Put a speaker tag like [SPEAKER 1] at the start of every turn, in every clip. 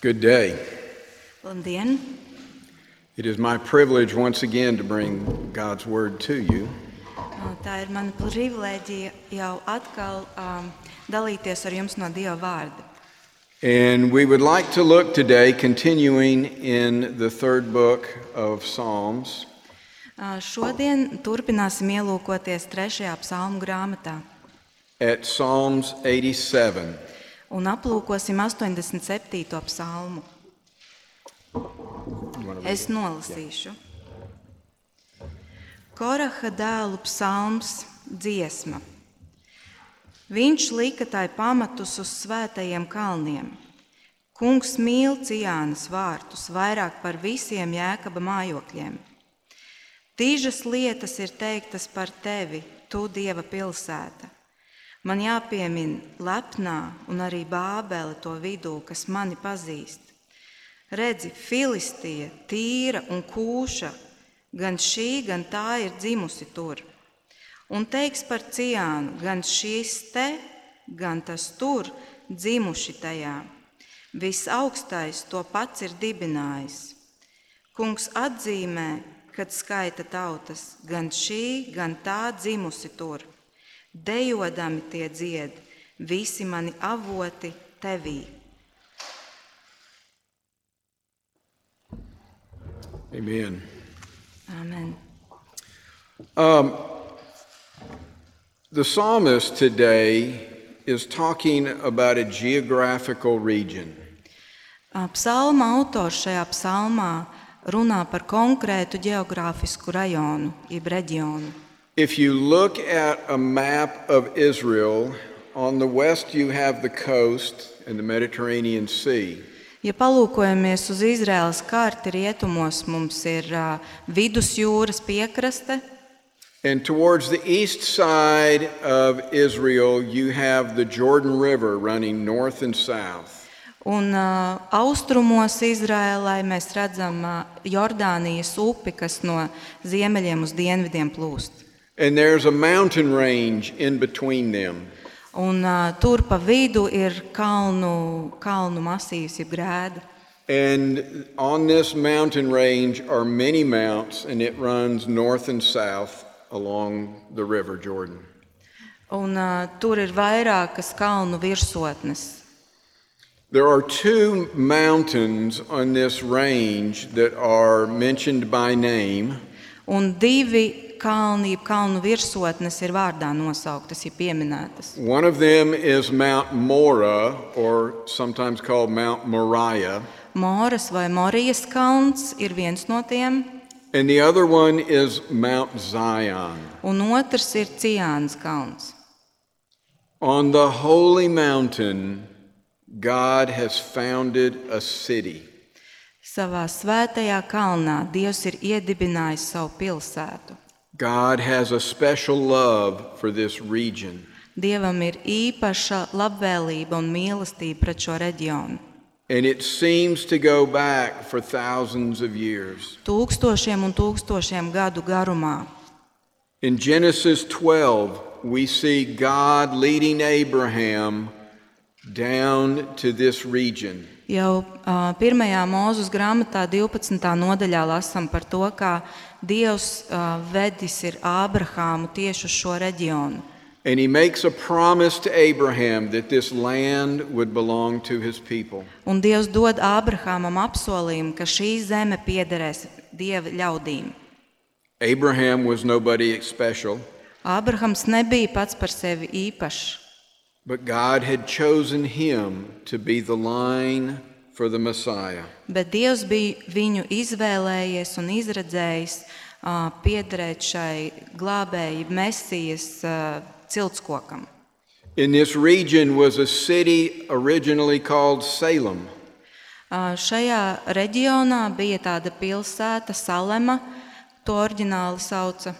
[SPEAKER 1] Good day.
[SPEAKER 2] Labdien!
[SPEAKER 1] It is my privilege once again to bring God's word to you.
[SPEAKER 2] Uh, Tā ir mana privilēģija jau atkal um, dalīties ar jums no Dieva vārda.
[SPEAKER 1] And we would like to look today, continuing in the third book of Psalms,
[SPEAKER 2] Uh, Šodien turpināsim ielūkoties trešajā psalmu grāmatā
[SPEAKER 1] at Psalms 87.
[SPEAKER 2] un aplūkosim 87. psalmu. Es nolasīšu. Koraha dēlu psalms dziesma. Viņš lika tai pamatus uz svētajiem kalniem. Kungs mīl Cijānas vārtus vairāk par visiem jēkaba mājokļiem. Tīžas lietas ir teiktas par tevi, tu dieva pilsēta. Man jāpiemin lepnā un arī bābele to vidū, kas mani pazīst. Redzi, Filistija, tīra un kūša, gan šī, gan tā ir dzimusi tur. Un teiks par ciānu, gan šīs te, gan tas tur dzimuši tajā. Visaugstais to pats ir dibinājis. Kungs atzīmē, kad skaita tautas, gan šī, gan tā dzimusi tur. Dejodami tie dzied, visi mani avoti tevī.
[SPEAKER 1] Amen.
[SPEAKER 2] Amen.
[SPEAKER 1] The psalmist today is talking about a geographical region.
[SPEAKER 2] Psalma autors šajā psalmā runā par konkrētu geogrāfisku rajonu, jeb reģionu.
[SPEAKER 1] If you look at a map of Israel, on the west you have the coast and the Mediterranean Sea.
[SPEAKER 2] Ja palūkojamies uz Izraēlas karti, rietumos mums ir ā, vidusjūras piekraste,
[SPEAKER 1] And towards the east side of Israel, you have the Jordan River running north and south.
[SPEAKER 2] un ā, austrumos Izraēlai mēs redzam ā, Jordānijas upi, kas no ziemeļiem uz dienvidiem plūst.
[SPEAKER 1] And there's a mountain range in between them.
[SPEAKER 2] Un, ā, tur pa vidu ir kalnu, kalnu masīvs, jeb grēda.
[SPEAKER 1] And on this mountain range are many mounts, and it runs north and south along the River Jordan.
[SPEAKER 2] Un, uh, tur ir vairākas kalnu virsotnes.
[SPEAKER 1] There are two mountains on this range that are mentioned by name.
[SPEAKER 2] Un divi kalni, jeb kalnu virsotnes ir vārdā nosauktas, ir pieminētas.
[SPEAKER 1] One of them is Mount Mora, or sometimes called Mount Moriah,
[SPEAKER 2] Moras vai Morijas kalns ir viens no tiem,
[SPEAKER 1] and the other one is Mount Zion.
[SPEAKER 2] un otrs ir Cijāns kalns.
[SPEAKER 1] On the holy mountain, God has founded a city.
[SPEAKER 2] Savā svētajā kalnā Dievs ir iedibinājis savu pilsētu.
[SPEAKER 1] God has a special love for this region,
[SPEAKER 2] Dievam ir īpaša labvēlība un mīlestība pret šo reģionu.
[SPEAKER 1] and it seems to go back for thousands of years.
[SPEAKER 2] Tūkstošiem un tūkstošiem gadu garumā
[SPEAKER 1] In Genesis 12, we see God leading Abraham down to this region.
[SPEAKER 2] Jau uh, pirmajā mūzes grāmatā, 12. nodaļā, lasām par to, kā Dievs uh, vedis ir Ābrahāmu tieši uz šo reģionu.
[SPEAKER 1] And he makes a promise to Abraham that this land would belong to his people.
[SPEAKER 2] Un Dievs dod Ābrahāmam apsolījumu, ka šī zeme piederēs Dieva ļaudīm.
[SPEAKER 1] Abraham was nobody special,
[SPEAKER 2] Ābrahams nebija pats par sevi īpašs,
[SPEAKER 1] but God had chosen him to be the line for the Messiah.
[SPEAKER 2] bet Dievs bija viņu izvēlējies un izredzējis uh, piederēt šai glābēji Mēsijas uh, ciltskokam.
[SPEAKER 1] In this region was a city originally called Salem,
[SPEAKER 2] Ā, Šajā reģionā bija tāda pilsēta, Salema, to oriģināli sauca.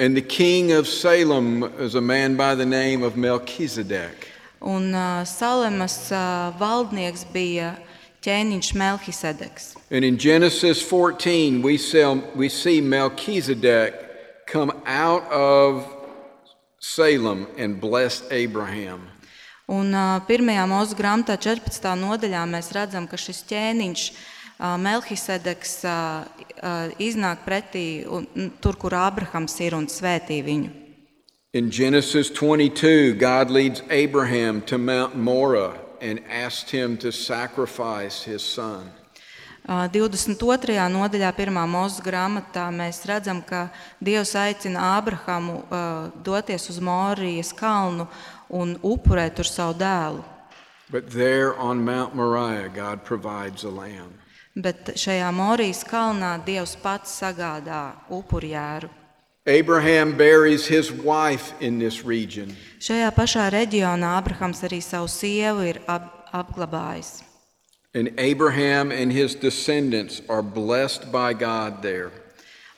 [SPEAKER 1] and the king of Salem is a man by the name of Melchizedek.
[SPEAKER 2] Un ā, Salemas ā, valdnieks bija ķēniņš Melkisedeks.
[SPEAKER 1] And in Genesis 14, we, sell, we see Melchizedek come out of Salem and bless Abraham.
[SPEAKER 2] Un ā, pirmajā mūsu grāmatā, 14. nodaļā, mēs redzam, ka šis ķēniņš ā, Melhisedeks ā, ā, iznāk pretī un, n- tur, kur Ābrahams ir un svētī viņu.
[SPEAKER 1] In Genesis 22, God leads Abraham to Mount Morah and asks him to sacrifice his son.
[SPEAKER 2] Ā, 22. nodaļā, 1. mūsu grāmatā, mēs redzam, ka Dievs aicina Ābrahamu ā, doties uz Morijas kalnu un upurēt tur savu dēlu.
[SPEAKER 1] But there on Mount Moriah, God provides a lamb.
[SPEAKER 2] Bet šajā Morijas kalnā Dievs pats sagādā upurjēru.
[SPEAKER 1] Abraham buries his wife in this region.
[SPEAKER 2] Šajā pašā reģionā Abrahams arī savu sievu ir ap, apglabājis.
[SPEAKER 1] And Abraham and his descendants are blessed by God there.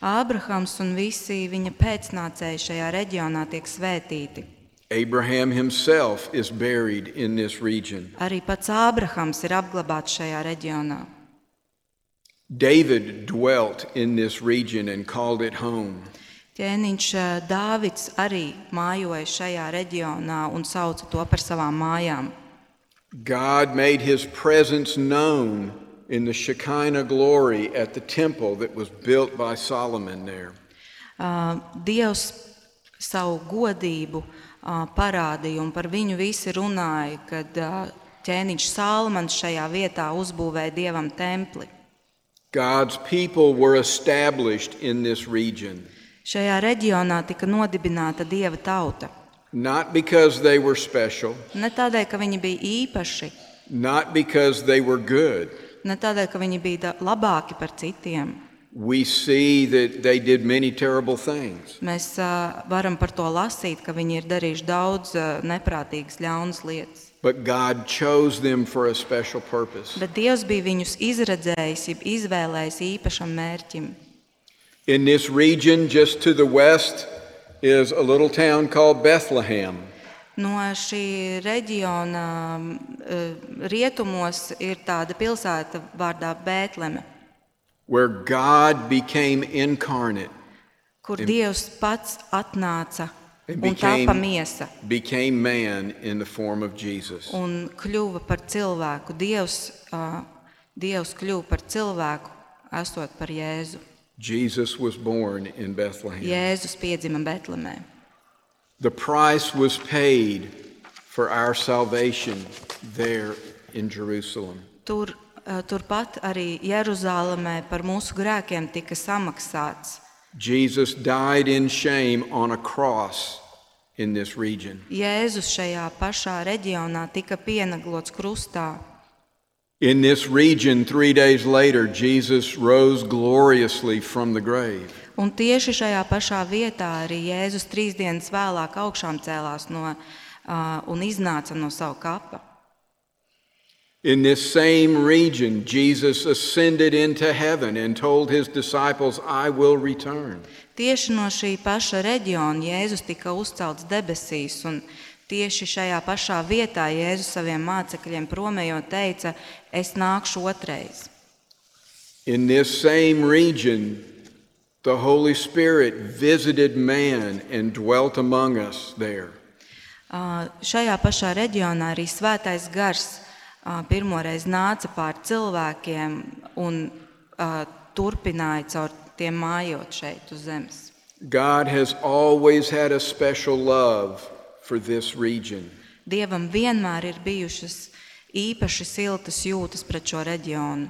[SPEAKER 2] Ābrahams un visi viņa pēcnācēji šajā reģionā tiek svētīti.
[SPEAKER 1] Abraham himself is buried in this region.
[SPEAKER 2] Arī pats Ābrahams ir apglabāts šajā reģionā.
[SPEAKER 1] David dwelt in this region and called it home.
[SPEAKER 2] Ķēniņš eh, Dāvids arī mājoja šajā reģionā un sauca to par savām mājām.
[SPEAKER 1] God made his presence known in the Shekinah glory at the temple that was built by Solomon there.
[SPEAKER 2] Ā, Eh, Dievs savu godību ā, parādīja, un par viņu visi runāja, kad ā, ķēniņš Salmans šajā vietā uzbūvēja dievam templi.
[SPEAKER 1] God's people were established in this region,
[SPEAKER 2] Šajā reģionā tika nodibināta dieva tauta.
[SPEAKER 1] not because they were special,
[SPEAKER 2] Ne tādēļ, ka viņi bija īpaši,
[SPEAKER 1] not because they were good.
[SPEAKER 2] ne tādēļ, ka viņi bija da- labāki par citiem.
[SPEAKER 1] We see that they did many terrible things,
[SPEAKER 2] Mēs ā, varam par to lasīt, ka viņi ir darījuši daudz ā, neprātīgas, ļaunas lietas.
[SPEAKER 1] but God chose them for a special purpose.
[SPEAKER 2] Bet Dievs bija viņus izredzējis, jeb izvēlējis īpašam mērķim.
[SPEAKER 1] In this region, just to the west, is a little town called Bethlehem.
[SPEAKER 2] No šī reģiona mm, eh, rietumos ir tāda pilsēta vārdā Bētleme,
[SPEAKER 1] where God became incarnate,
[SPEAKER 2] kur Dievs pats atnāca
[SPEAKER 1] It
[SPEAKER 2] un tapa
[SPEAKER 1] became-
[SPEAKER 2] miesa
[SPEAKER 1] became man in the form of Jesus.
[SPEAKER 2] un kļuva par cilvēku. Dievs, ā, Dievs kļuva par cilvēku, esot par Jēzu.
[SPEAKER 1] Jesus was born in Bethlehem.
[SPEAKER 2] Jēzus piedzima Bētlemē.
[SPEAKER 1] The price was paid for our salvation there in Jerusalem.
[SPEAKER 2] Tur, ā, turpat arī Jeruzālēmē par mūsu grēkiem tika samaksāts.
[SPEAKER 1] Jesus died in shame on a cross in this region.
[SPEAKER 2] Jēzus šajā pašā reģionā tika pienaglots krustā.
[SPEAKER 1] In this region, three days later, Jesus rose gloriously from the grave.
[SPEAKER 2] Un tieši šajā pašā vietā arī Jēzus trīs dienas vēlāk augšām cēlās no, ā, un iznāca no sava kapa.
[SPEAKER 1] In this same region, Jesus ascended into heaven and told his disciples, I will return.
[SPEAKER 2] Tieši no šī paša reģiona Jēzus tika uzcelts debesīs, un tieši šajā pašā vietā Jēzus saviem mācekļiem promējot teica: Es nākšu otrais.
[SPEAKER 1] In this same region, the Holy Spirit visited man and dwelt among us there.
[SPEAKER 2] Ā, Šajā pašā reģionā arī svētais gars ā, pirmoreiz nāca pār cilvēkiem un ā, turpināja caur tiem mājot šeit uz zemes.
[SPEAKER 1] God has always had a special love for this region.
[SPEAKER 2] Dievam vienmēr ir bijušas īpaši siltas jūtas pret šo reģionu,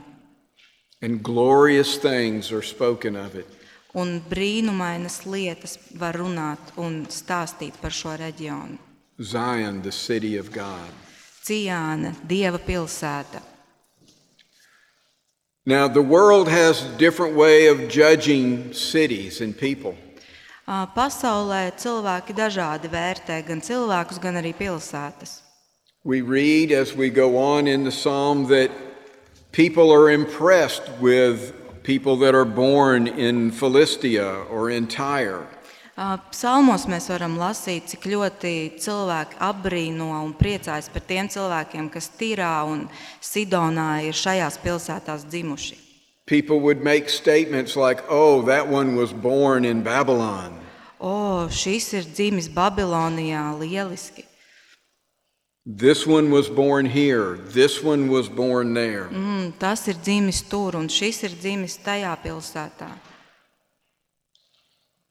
[SPEAKER 1] And glorious things are spoken of it.
[SPEAKER 2] un brīnumainas lietas var runāt un stāstīt par šo reģionu.
[SPEAKER 1] Zion, the city of God.
[SPEAKER 2] Cijāna, Dieva pilsēta.
[SPEAKER 1] Now, the world has a different way of judging cities and people.
[SPEAKER 2] Ā, Pasaulē cilvēki dažādi vērtē gan cilvēkus, gan arī pilsētas.
[SPEAKER 1] We read as we go on in the psalm that people are impressed with people that are born in Philistia or in Tyre.
[SPEAKER 2] Ā, Psalmos mēs varam lasīt, cik ļoti cilvēki apbrīno un priecājas par tiem cilvēkiem, kas Tirā un Sidonā ir šajās pilsētās dzimuši.
[SPEAKER 1] People would make statements like, oh, that one was born in Babylon.
[SPEAKER 2] O, šis ir dzimis Babilonijā, lieliski.
[SPEAKER 1] This one was born here, this one was born there.
[SPEAKER 2] Mm, tas ir dzimis tur, un šis ir dzimis tajā pilsētā.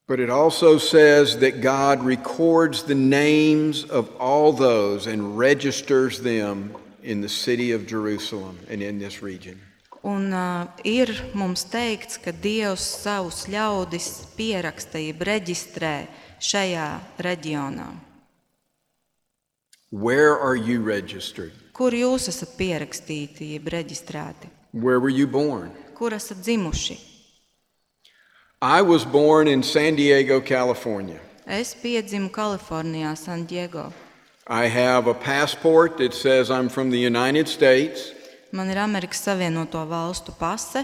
[SPEAKER 1] But it also says that God records the names of all those and registers them in the city of Jerusalem and in this region.
[SPEAKER 2] Un uh, ir mums teikts, ka Dievs savus ļaudis pieraksta, jeb reģistrē šajā reģionā.
[SPEAKER 1] Where are you registered?
[SPEAKER 2] Kur jūs esat pierakstīti, jeb reģistrēti?
[SPEAKER 1] Where were you born?
[SPEAKER 2] Kur esat dzimuši?
[SPEAKER 1] I was born in San Diego, California.
[SPEAKER 2] Es piedzimu Kalifornijā, San Diego.
[SPEAKER 1] I have a passport that says I'm from the United States,
[SPEAKER 2] Man ir Amerikas Savienoto Valstu pase,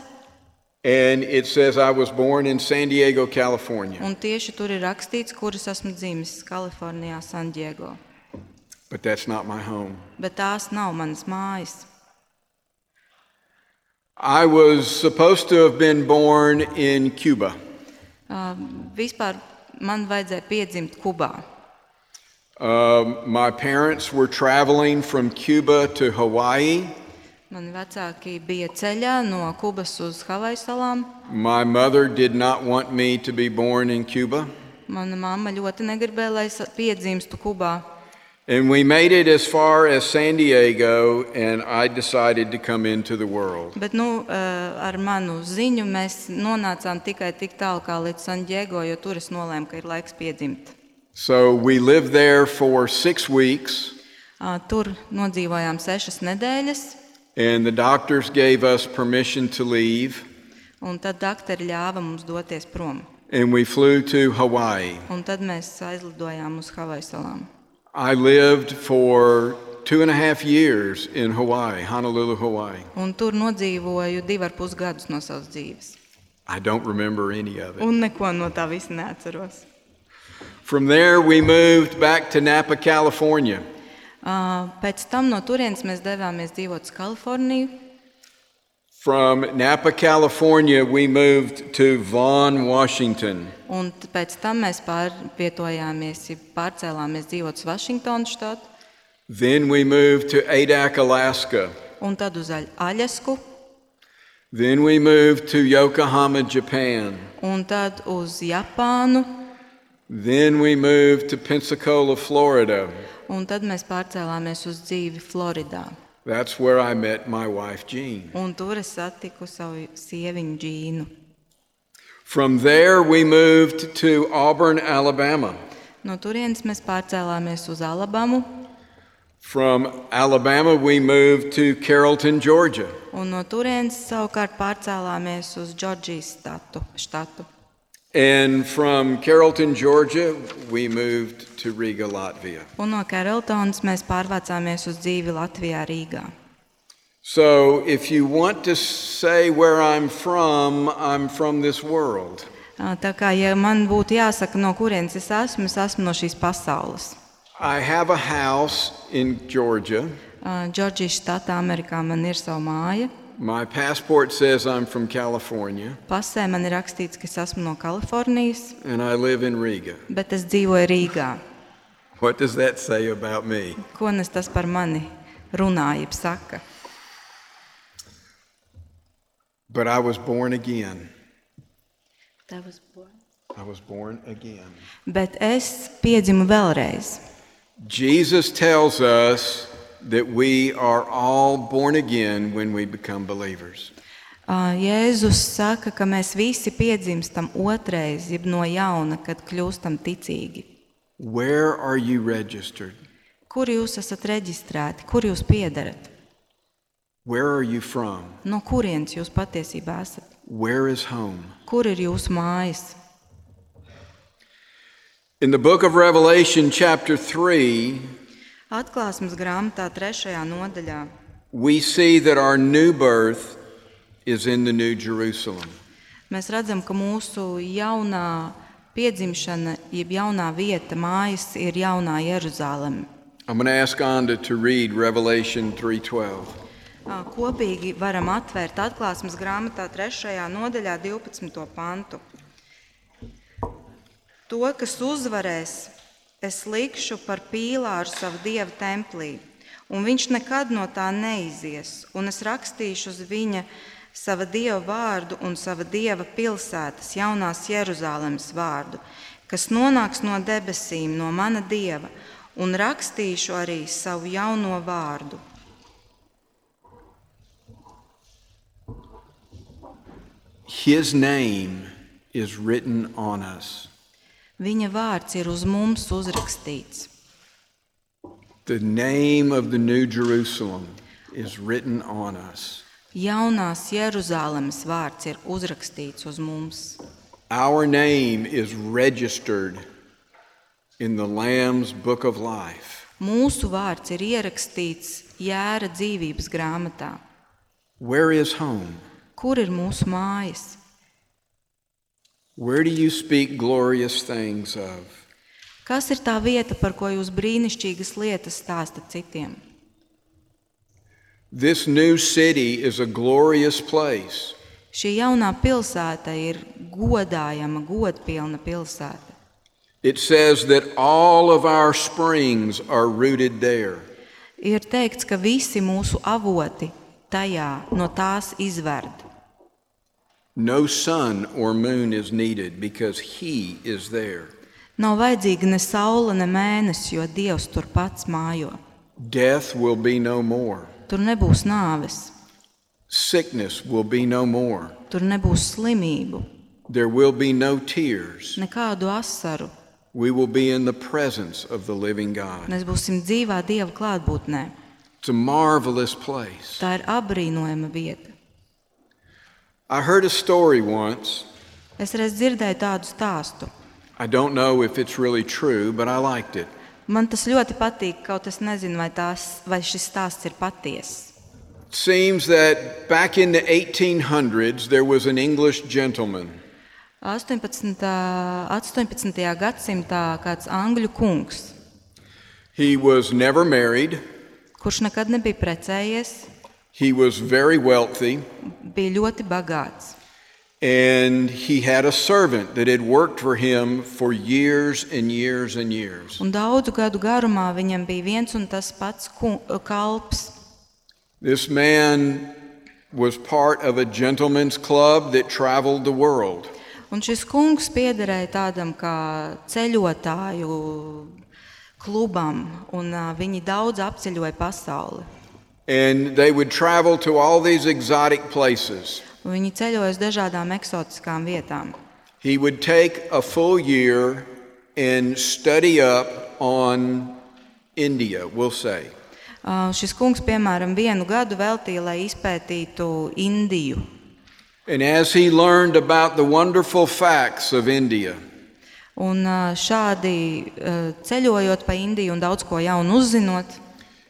[SPEAKER 1] and it says I was born in San Diego, California.
[SPEAKER 2] un tieši tur ir rakstīts, kur es esmu dzimis Kalifornijā, San Diego.
[SPEAKER 1] But that's not my home.
[SPEAKER 2] Bet tās nav manas mājas.
[SPEAKER 1] I was supposed to have been born in Cuba.
[SPEAKER 2] Uh, vispār man vajadzēja piedzimt Kubā.
[SPEAKER 1] Um, my parents were traveling from Cuba to Hawaii.
[SPEAKER 2] Mani vecāki bija ceļā no Kubas uz Havaju salām.
[SPEAKER 1] My mother did not want me to be born in Cuba.
[SPEAKER 2] Mana mamma ļoti negribēja, lai es piedzimstu Kubā.
[SPEAKER 1] And we made it as far as San Diego, and I decided to come into the world.
[SPEAKER 2] Bet nu, eh, ar manu ziņu mēs nonācām tikai tik tālu kā līdz San Diego, jo tur es nolēmu, ka ir laiks piedzimt.
[SPEAKER 1] So we lived there for six weeks,
[SPEAKER 2] Ah, Tur nodzīvojām sešas nedēļas,
[SPEAKER 1] and the doctors gave us permission to leave,
[SPEAKER 2] un tad doktori ļāva mums doties prom.
[SPEAKER 1] and we flew to Hawaii.
[SPEAKER 2] Un tad mēs aizlidojām uz Havaju salām.
[SPEAKER 1] I lived for two and a half years in Hawaii, Honolulu, Hawaii.
[SPEAKER 2] Un tur nodzīvoju divus ar pus gadus no savas dzīves.
[SPEAKER 1] I don't remember any of it.
[SPEAKER 2] Un neko no tā visa neatceros.
[SPEAKER 1] From there, we moved back to Napa, California.
[SPEAKER 2] Ah, Pēc tam no turienes mēs devāmies dzīvot uz Kaliforniju.
[SPEAKER 1] From Napa, California, we moved to Vaughan, Washington.
[SPEAKER 2] Un t- pēc tam mēs pārvietojāmies, ja pārcēlāmies dzīvot uz Vašingtonu štatu,
[SPEAKER 1] Then we moved to Adak, Alaska.
[SPEAKER 2] un tad uz Aļ- Aļasku,
[SPEAKER 1] Then we moved to Yokohama, Japan.
[SPEAKER 2] un tad uz Japānu,
[SPEAKER 1] Then we moved to Pensacola, Florida.
[SPEAKER 2] un tad mēs pārcēlāmies uz dzīvi Floridā.
[SPEAKER 1] That's where I met my wife, Jean.
[SPEAKER 2] Un tur es satiku savu sieviņu Džīnu.
[SPEAKER 1] From there, we moved to Auburn, Alabama.
[SPEAKER 2] No turienes mēs pārcēlāmies uz Alabamu,
[SPEAKER 1] From Alabama, we moved to Carrollton, Georgia.
[SPEAKER 2] un no turienes savukārt pārcēlāmies uz Džordžijas statu. štatu.
[SPEAKER 1] And from Carrollton, Georgia, we moved to Riga, Latvia.
[SPEAKER 2] Un no Kareltonas mēs pārvācāmies uz dzīvi Latvijā, Rīgā.
[SPEAKER 1] So, if you want to say where I'm from, I'm from this world.
[SPEAKER 2] Tā kā ja man būtu jāsaka, no kurienes es esmu, es esmu no šīs pasaules.
[SPEAKER 1] I have a house in Georgia.
[SPEAKER 2] Ā, Džordžijas štatā, Amerikā, man ir sava māja.
[SPEAKER 1] My passport says I'm from California,
[SPEAKER 2] Pasē man ir rakstīts, ka es esmu no Kalifornijas,
[SPEAKER 1] and I live in Riga.
[SPEAKER 2] bet es dzīvoju Rīgā.
[SPEAKER 1] What does that say about me?
[SPEAKER 2] Ko nes tas par mani runāja, saka?
[SPEAKER 1] But I was born again.
[SPEAKER 2] Tā būs boja.
[SPEAKER 1] I was born again.
[SPEAKER 2] Bet es piedzimu vēlreiz.
[SPEAKER 1] Jesus tells us that we are all born again when we become believers.
[SPEAKER 2] Ā, Jēzus saka, ka mēs visi piedzimstam otrreiz, jeb no jauna, kad kļūstam ticīgi.
[SPEAKER 1] Where are you registered?
[SPEAKER 2] Kur jūs esat reģistrēti, kur jūs piedarat,
[SPEAKER 1] Where are you from?
[SPEAKER 2] no kurienes jūs patiesībā esat,
[SPEAKER 1] Where is home?
[SPEAKER 2] kur ir jūsu mājas?
[SPEAKER 1] In the book of Revelation, chapter 3,
[SPEAKER 2] Atklāsmes grāmatā, trešajā nodaļā,
[SPEAKER 1] we see that our new birth is in the New Jerusalem.
[SPEAKER 2] mēs redzam, ka mūsu jaunā piedzimšana, jeb jaunā vieta, mājas ir jaunā Jeruzaleme.
[SPEAKER 1] I'm going to ask Anda to read Revelation 3:12.
[SPEAKER 2] Ā, Kopīgi varam atvērt atklāsmes grāmatā, 3. nodaļā, 12. pantu. To, kas uzvarēs, es likšu par pīlāru savu dievu templī, un viņš nekad no tā neizies, un es rakstīšu uz viņa sava dieva vārdu un sava dieva pilsētas, jaunās Jeruzalemes vārdu, kas nonāks no debesīm, no mana dieva, un rakstīšu arī savu jauno vārdu.
[SPEAKER 1] His name is written on us.
[SPEAKER 2] Viņa vārds ir uz mums uzrakstīts.
[SPEAKER 1] The name of the New Jerusalem is written on us.
[SPEAKER 2] Jaunās Jeruzalemes vārds ir uzrakstīts uz mums.
[SPEAKER 1] Our name is registered in the Lamb's Book of Life.
[SPEAKER 2] Mūsu vārds ir ierakstīts jēra dzīvības grāmatā.
[SPEAKER 1] Where is home?
[SPEAKER 2] Kur ir mūsu mājas?
[SPEAKER 1] Where do you speak glorious things of?
[SPEAKER 2] Kas ir tā vieta, par ko jūs brīnišķīgas lietas stāstat citiem?
[SPEAKER 1] This new city is a glorious place.
[SPEAKER 2] Šī jaunā pilsēta ir godājama, godpilna pilsēta.
[SPEAKER 1] It says that all of our springs are rooted there.
[SPEAKER 2] Ir teikts, ka visi mūsu avoti tajā no tās izverd.
[SPEAKER 1] No sun or moon is needed because He is there.
[SPEAKER 2] Nav vajadzīga ne saule, ne mēnesis, jo Dievs tur pats mājo.
[SPEAKER 1] Death will be no more.
[SPEAKER 2] Tur nebūs nāves,
[SPEAKER 1] Sickness will be no more.
[SPEAKER 2] tur nebūs slimību,
[SPEAKER 1] There will be no tears.
[SPEAKER 2] nekādu asaru.
[SPEAKER 1] We will be in the presence of the living God.
[SPEAKER 2] Mēs būsim dzīvā Dieva klātbūtnē.
[SPEAKER 1] It's a marvelous place.
[SPEAKER 2] Tā ir apbrīnojama vieta.
[SPEAKER 1] I heard a story once.
[SPEAKER 2] Es reiz dzirdēju tādu stāstu.
[SPEAKER 1] I don't know if it's really true, but I liked it.
[SPEAKER 2] Man tas ļoti patīk, kaut es nezinu, vai, tās, vai šis stāsts ir patiess.
[SPEAKER 1] It seems that back in the 1800s, there was an English gentleman.
[SPEAKER 2] 18. 18. gadsimtā kāds angļu kungs,
[SPEAKER 1] He was never married,
[SPEAKER 2] kurš nekad nebija precējies,
[SPEAKER 1] he was very wealthy,
[SPEAKER 2] bija ļoti bagāts.
[SPEAKER 1] and he had a servant that had worked for him for years and years and years.
[SPEAKER 2] Un daudzu gadu garumā viņam bija viens un tas pats ku- eh, kalps.
[SPEAKER 1] This man was part of a gentleman's club that traveled the world.
[SPEAKER 2] Un šis kungs piederēja tādam kā ceļotāju klubam, un ā, viņi daudz apceļoja pasauli.
[SPEAKER 1] And they would travel to all these exotic places.
[SPEAKER 2] Un Viņi ceļoja uz dažādām eksotiskām vietām.
[SPEAKER 1] He would take a full year and study up on India, we'll say.
[SPEAKER 2] Ā, Eh, Šis kungs, piemēram, vienu gadu veltīja, lai izpētītu Indiju.
[SPEAKER 1] And as he learned about the wonderful facts of India,
[SPEAKER 2] Un ā, šādi ā, ceļojot pa Indiju un daudz ko jaunu uzzinot,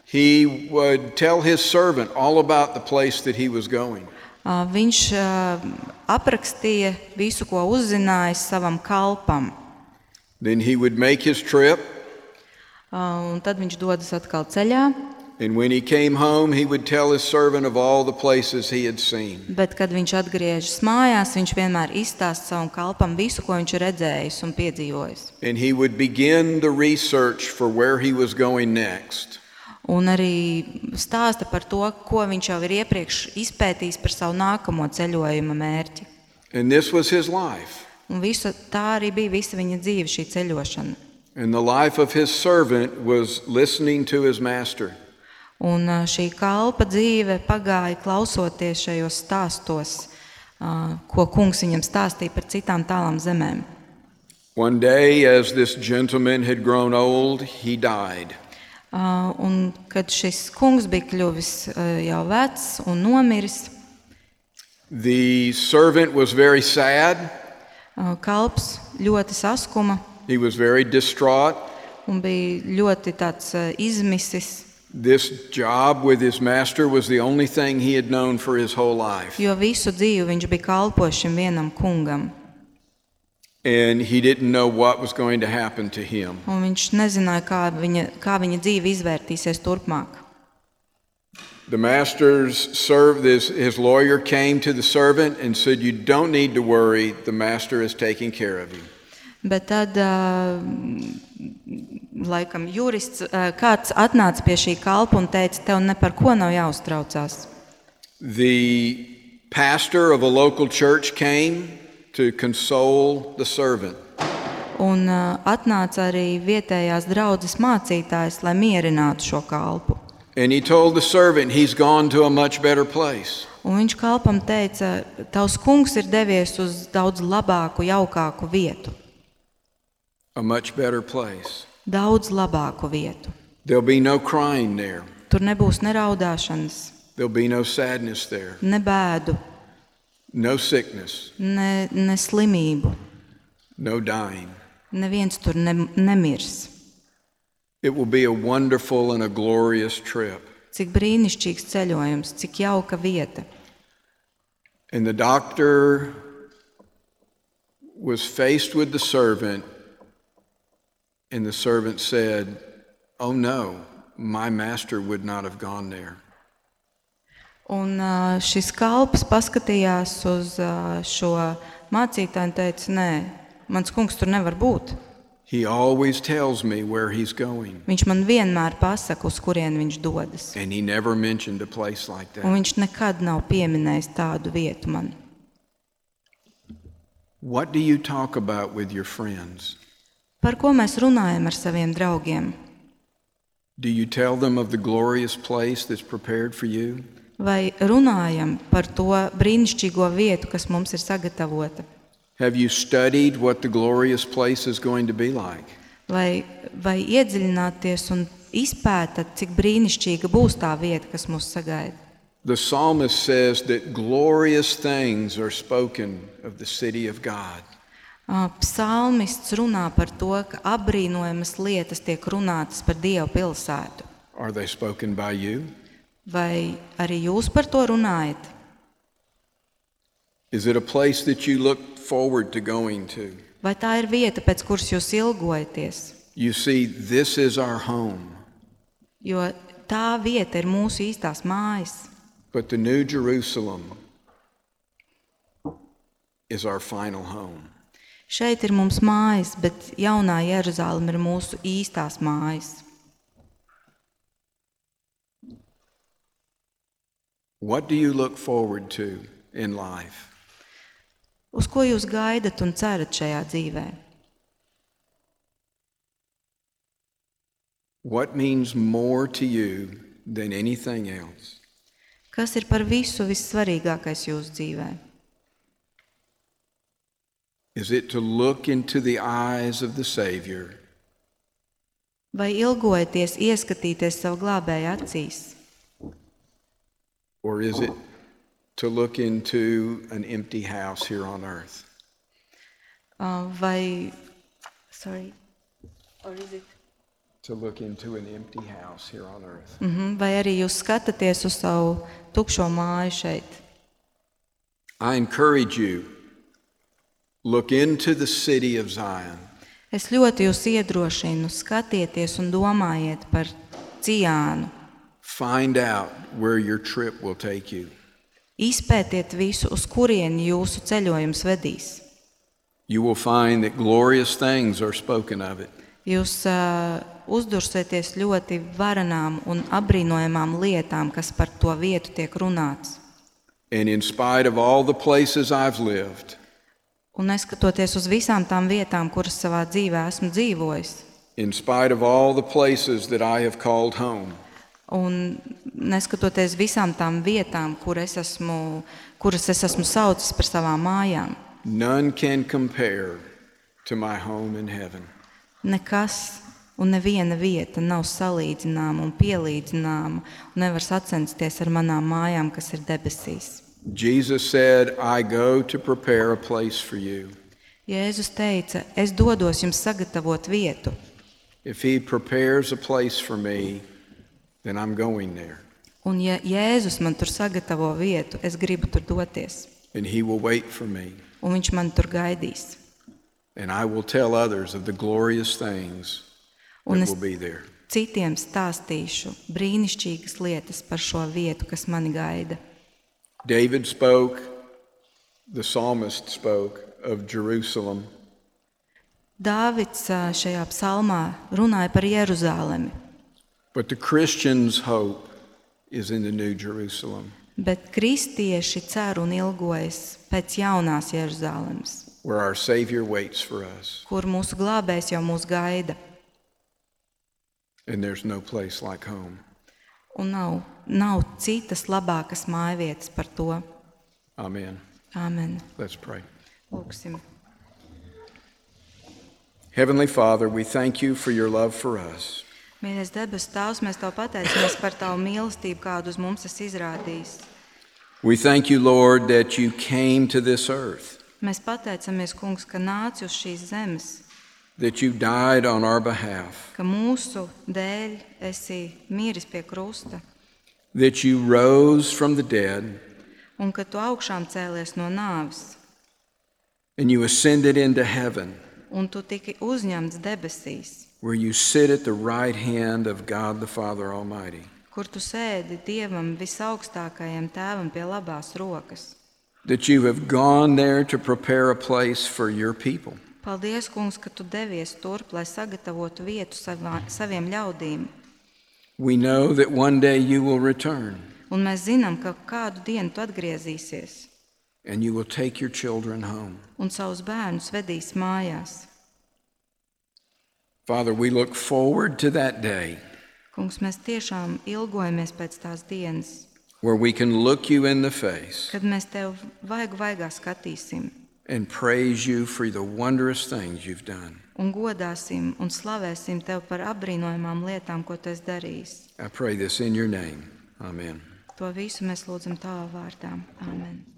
[SPEAKER 1] he would tell his servant all about the place that he was going.
[SPEAKER 2] Ā, Viņš ā, aprakstīja visu, ko uzzinājis savam kalpam.
[SPEAKER 1] Then he would make his trip,
[SPEAKER 2] Ā, Un tad viņš dodas atkal ceļā.
[SPEAKER 1] and when he came home, he would tell his servant of all the places he had seen.
[SPEAKER 2] Bet, kad viņš atgriežas mājās, viņš vienmēr izstāsta savam kalpam visu, ko viņš ir redzējis un piedzīvojis.
[SPEAKER 1] And he would begin the research for where he was going next.
[SPEAKER 2] Un arī stāsta par to, ko viņš jau ir iepriekš izpētījis par savu nākamo ceļojuma mērķi.
[SPEAKER 1] And this was his life.
[SPEAKER 2] Un visu, tā arī bija visa viņa dzīve, šī ceļošana.
[SPEAKER 1] And the life of his servant was listening to his master.
[SPEAKER 2] Un ā, šī kalpa dzīve pagāja klausoties šajos stāstos, ā, ko kungs viņam stāstīja par citām tālām zemēm.
[SPEAKER 1] One day, as this gentleman had grown old, he died.
[SPEAKER 2] Ā, Un kad šis kungs bija kļuvis ā, jau vecs un nomiris,
[SPEAKER 1] The servant was very sad.
[SPEAKER 2] ā, kalps ļoti saskuma
[SPEAKER 1] He was very distraught.
[SPEAKER 2] un bija ļoti tāds ā, izmisis,
[SPEAKER 1] This job with his master was the only thing he had known for his whole life.
[SPEAKER 2] jo visu dzīvi viņš bija kalpošam vienam kungam.
[SPEAKER 1] And he didn't know what was going to happen to him.
[SPEAKER 2] Un viņš nezināja, kā viņa, kā viņa dzīve izvērtīsies turpmāk.
[SPEAKER 1] The master's served his, his lawyer came to the servant and said, You don't need to worry, the master is taking care of you.
[SPEAKER 2] Bet tad ā, laikam jurists, eh, kāds atnāca pie šī kalpa un teica, tev ne par ko nav jāuztraucās.
[SPEAKER 1] The pastor of a local church came to console the servant.
[SPEAKER 2] Un eh, atnāca arī vietējās draudzes mācītājs, lai mierinātu šo kalpu.
[SPEAKER 1] And he told the servant he's gone to a much better place.
[SPEAKER 2] Un viņš kalpam teica, tavs kungs ir devies uz daudz labāku, jaukāku vietu.
[SPEAKER 1] A much better place.
[SPEAKER 2] Daudz labāku vietu.
[SPEAKER 1] There'll be no crying there.
[SPEAKER 2] Tur nebūs ne raudāšanas,
[SPEAKER 1] There'll be no sadness there.
[SPEAKER 2] ne bēdu,
[SPEAKER 1] No sickness.
[SPEAKER 2] ne, ne slimību.
[SPEAKER 1] No dying.
[SPEAKER 2] Neviens tur ne, nemirs.
[SPEAKER 1] It will be a wonderful and a glorious trip.
[SPEAKER 2] Cik brīnišķīgs ceļojums, cik jauka vieta.
[SPEAKER 1] And the doctor was faced with the servant, and the servant said, Oh no, my master would not have gone there.
[SPEAKER 2] Un ā, šis kalps paskatījās uz ā, šo mācītāju un teica, nē, mans kungs tur nevar būt.
[SPEAKER 1] He always tells me where he's going,
[SPEAKER 2] Viņš man vienmēr pasaka, uz kurien viņš dodas.
[SPEAKER 1] and he never mentioned a place like
[SPEAKER 2] Un
[SPEAKER 1] that.
[SPEAKER 2] viņš nekad nav pieminējis tādu vietu man.
[SPEAKER 1] What do you talk about with your friends?
[SPEAKER 2] Par ko mēs runājam ar saviem draugiem?
[SPEAKER 1] Do you tell them of the glorious place that's prepared for you?
[SPEAKER 2] Vai runājam par to brīnišķīgo vietu, kas mums ir sagatavota?
[SPEAKER 1] Have you studied what the glorious place is going to be like?
[SPEAKER 2] Vai, vai iedziļināties un izpētat, cik brīnišķīga būs tā vieta, kas mūs sagaida?
[SPEAKER 1] The psalmist says that glorious things are spoken of the city of God.
[SPEAKER 2] Ā, Psalmists runā par to, ka apbrīnojamas lietas tiek runātas par Dieva pilsētu.
[SPEAKER 1] Are they spoken by you?
[SPEAKER 2] Vai arī jūs par to runājat?
[SPEAKER 1] Is it a place that you look forward to going to?
[SPEAKER 2] Vai tā ir vieta, pēc kuras jūs ilgojaties?
[SPEAKER 1] You see, this is our home,
[SPEAKER 2] Jo tā vieta ir mūsu īstās mājas,
[SPEAKER 1] but the New Jerusalem is our final home.
[SPEAKER 2] šeit ir mūsu mājas, bet jaunā Jeruzaleme ir mūsu īstās mājas.
[SPEAKER 1] What do you look forward to in life?
[SPEAKER 2] Uz ko jūs gaidat un cerat šajā dzīvē?
[SPEAKER 1] What means more to you than anything else?
[SPEAKER 2] Kas ir par visu vissvarīgākais jūsu dzīvē?
[SPEAKER 1] Is it to look into the eyes of the Savior
[SPEAKER 2] Vai ilgojaties ieskatīties savu glābēju acīs,
[SPEAKER 1] Or is it to look into an empty house here on earth?
[SPEAKER 2] Uh, vai, sorry, Or is it-
[SPEAKER 1] To look into an empty house here on earth.
[SPEAKER 2] Mhm, vai arī jūs skatāties uz savu tukšo māju šeit?
[SPEAKER 1] I encourage you, look into the city of Zion.
[SPEAKER 2] Es ļoti jūs iedrošinu, skatieties un domājiet par Ciānu.
[SPEAKER 1] Find out where your trip will take you.
[SPEAKER 2] Izpētiet visu, uz kurieni jūsu ceļojums vedīs.
[SPEAKER 1] You will find that glorious things are spoken of it.
[SPEAKER 2] Jūs uh, uzdursieties ļoti varenām un apbrīnojamām lietām, kas par to vietu tiek runāts.
[SPEAKER 1] And in spite of all the places I've lived,
[SPEAKER 2] Un neskatoties uz visām tām vietām, kuras savā dzīvē esmu dzīvojis,
[SPEAKER 1] in spite of all the places that I have called home,
[SPEAKER 2] un neskatoties visām tām vietām, kur es esmu, kuras es esmu saucis par savām mājām,
[SPEAKER 1] none can compare to my home in heaven.
[SPEAKER 2] Nekas un neviena vieta nav salīdzināma un pielīdzināma un nevar sacensties ar manām mājām, kas ir debesīs.
[SPEAKER 1] Jesus said, I go to prepare a place for you.
[SPEAKER 2] Jēzus teica, es dodos jums sagatavot vietu.
[SPEAKER 1] If he prepares a place for me, then I'm going there.
[SPEAKER 2] Un ja Jēzus man tur sagatavo vietu, es gribu tur doties.
[SPEAKER 1] And he will wait for me.
[SPEAKER 2] Un viņš man tur gaidīs.
[SPEAKER 1] And I will tell others of the glorious things
[SPEAKER 2] Un
[SPEAKER 1] that
[SPEAKER 2] es
[SPEAKER 1] will be there.
[SPEAKER 2] citiem stāstīšu brīnišķīgas lietas par šo vietu, kas mani gaida.
[SPEAKER 1] David spoke, the psalmist spoke of Jerusalem
[SPEAKER 2] Dāvids ā, šajā psalmā runāja par Jeruzalemi,
[SPEAKER 1] But the Christian's hope is in the New Jerusalem,
[SPEAKER 2] bet kristieši cer un ilgojas pēc jaunās Jeruzalemes,
[SPEAKER 1] where our Savior waits for us,
[SPEAKER 2] kur mūsu glābējs jau mūs gaida.
[SPEAKER 1] and there's no place like home.
[SPEAKER 2] Un nav, nav citas labākas mājvietas par to.
[SPEAKER 1] Amen.
[SPEAKER 2] Āmen.
[SPEAKER 1] Let's pray.
[SPEAKER 2] Lūksim.
[SPEAKER 1] Heavenly Father, we thank you for your love for us.
[SPEAKER 2] Mīļais debes Tēvs, mēs Tev pateicamies par Tavu mīlestību, kādu uz mums esi izrādījis.
[SPEAKER 1] We thank you, Lord, that you came to this earth,
[SPEAKER 2] Mēs pateicamies, Kungs, ka nāci uz šīs zemes,
[SPEAKER 1] that you died on our behalf,
[SPEAKER 2] ka mūsu dēļ esi mīris pie krusta
[SPEAKER 1] that you rose from the dead,
[SPEAKER 2] un ka Tu augšām cēlies no nāves,
[SPEAKER 1] and you ascended into heaven,
[SPEAKER 2] un Tu tiki uzņemts debesīs,
[SPEAKER 1] where you sit at the right hand of God the Father Almighty.
[SPEAKER 2] kur Tu sēdi Dievam visaugstākajam tēvam pie labās rokas.
[SPEAKER 1] that you have gone there to prepare a place for your people,
[SPEAKER 2] Paldies, Kungs, ka Tu devies turp, lai sagatavotu vietu savā, saviem ļaudīm.
[SPEAKER 1] we know that one day you will return
[SPEAKER 2] Un mēs zinām, ka kādu dienu tu atgriezīsies
[SPEAKER 1] and you will take your children home.
[SPEAKER 2] un savus bērnus vedīs mājās.
[SPEAKER 1] Father, we look forward to that day
[SPEAKER 2] Kungs, mēs tiešām ilgojamies pēc tās dienas,
[SPEAKER 1] where we can look you in the face
[SPEAKER 2] kad mēs tev vaigu vaigā skatīsim
[SPEAKER 1] and praise you for the wondrous things you've done.
[SPEAKER 2] un godāsim un slavēsim tev par apbrīnojamām lietām, ko tu esi darījis.
[SPEAKER 1] I pray this in your name. Amen.
[SPEAKER 2] To visu mēs lūdzam tavā vārdā. Āmen!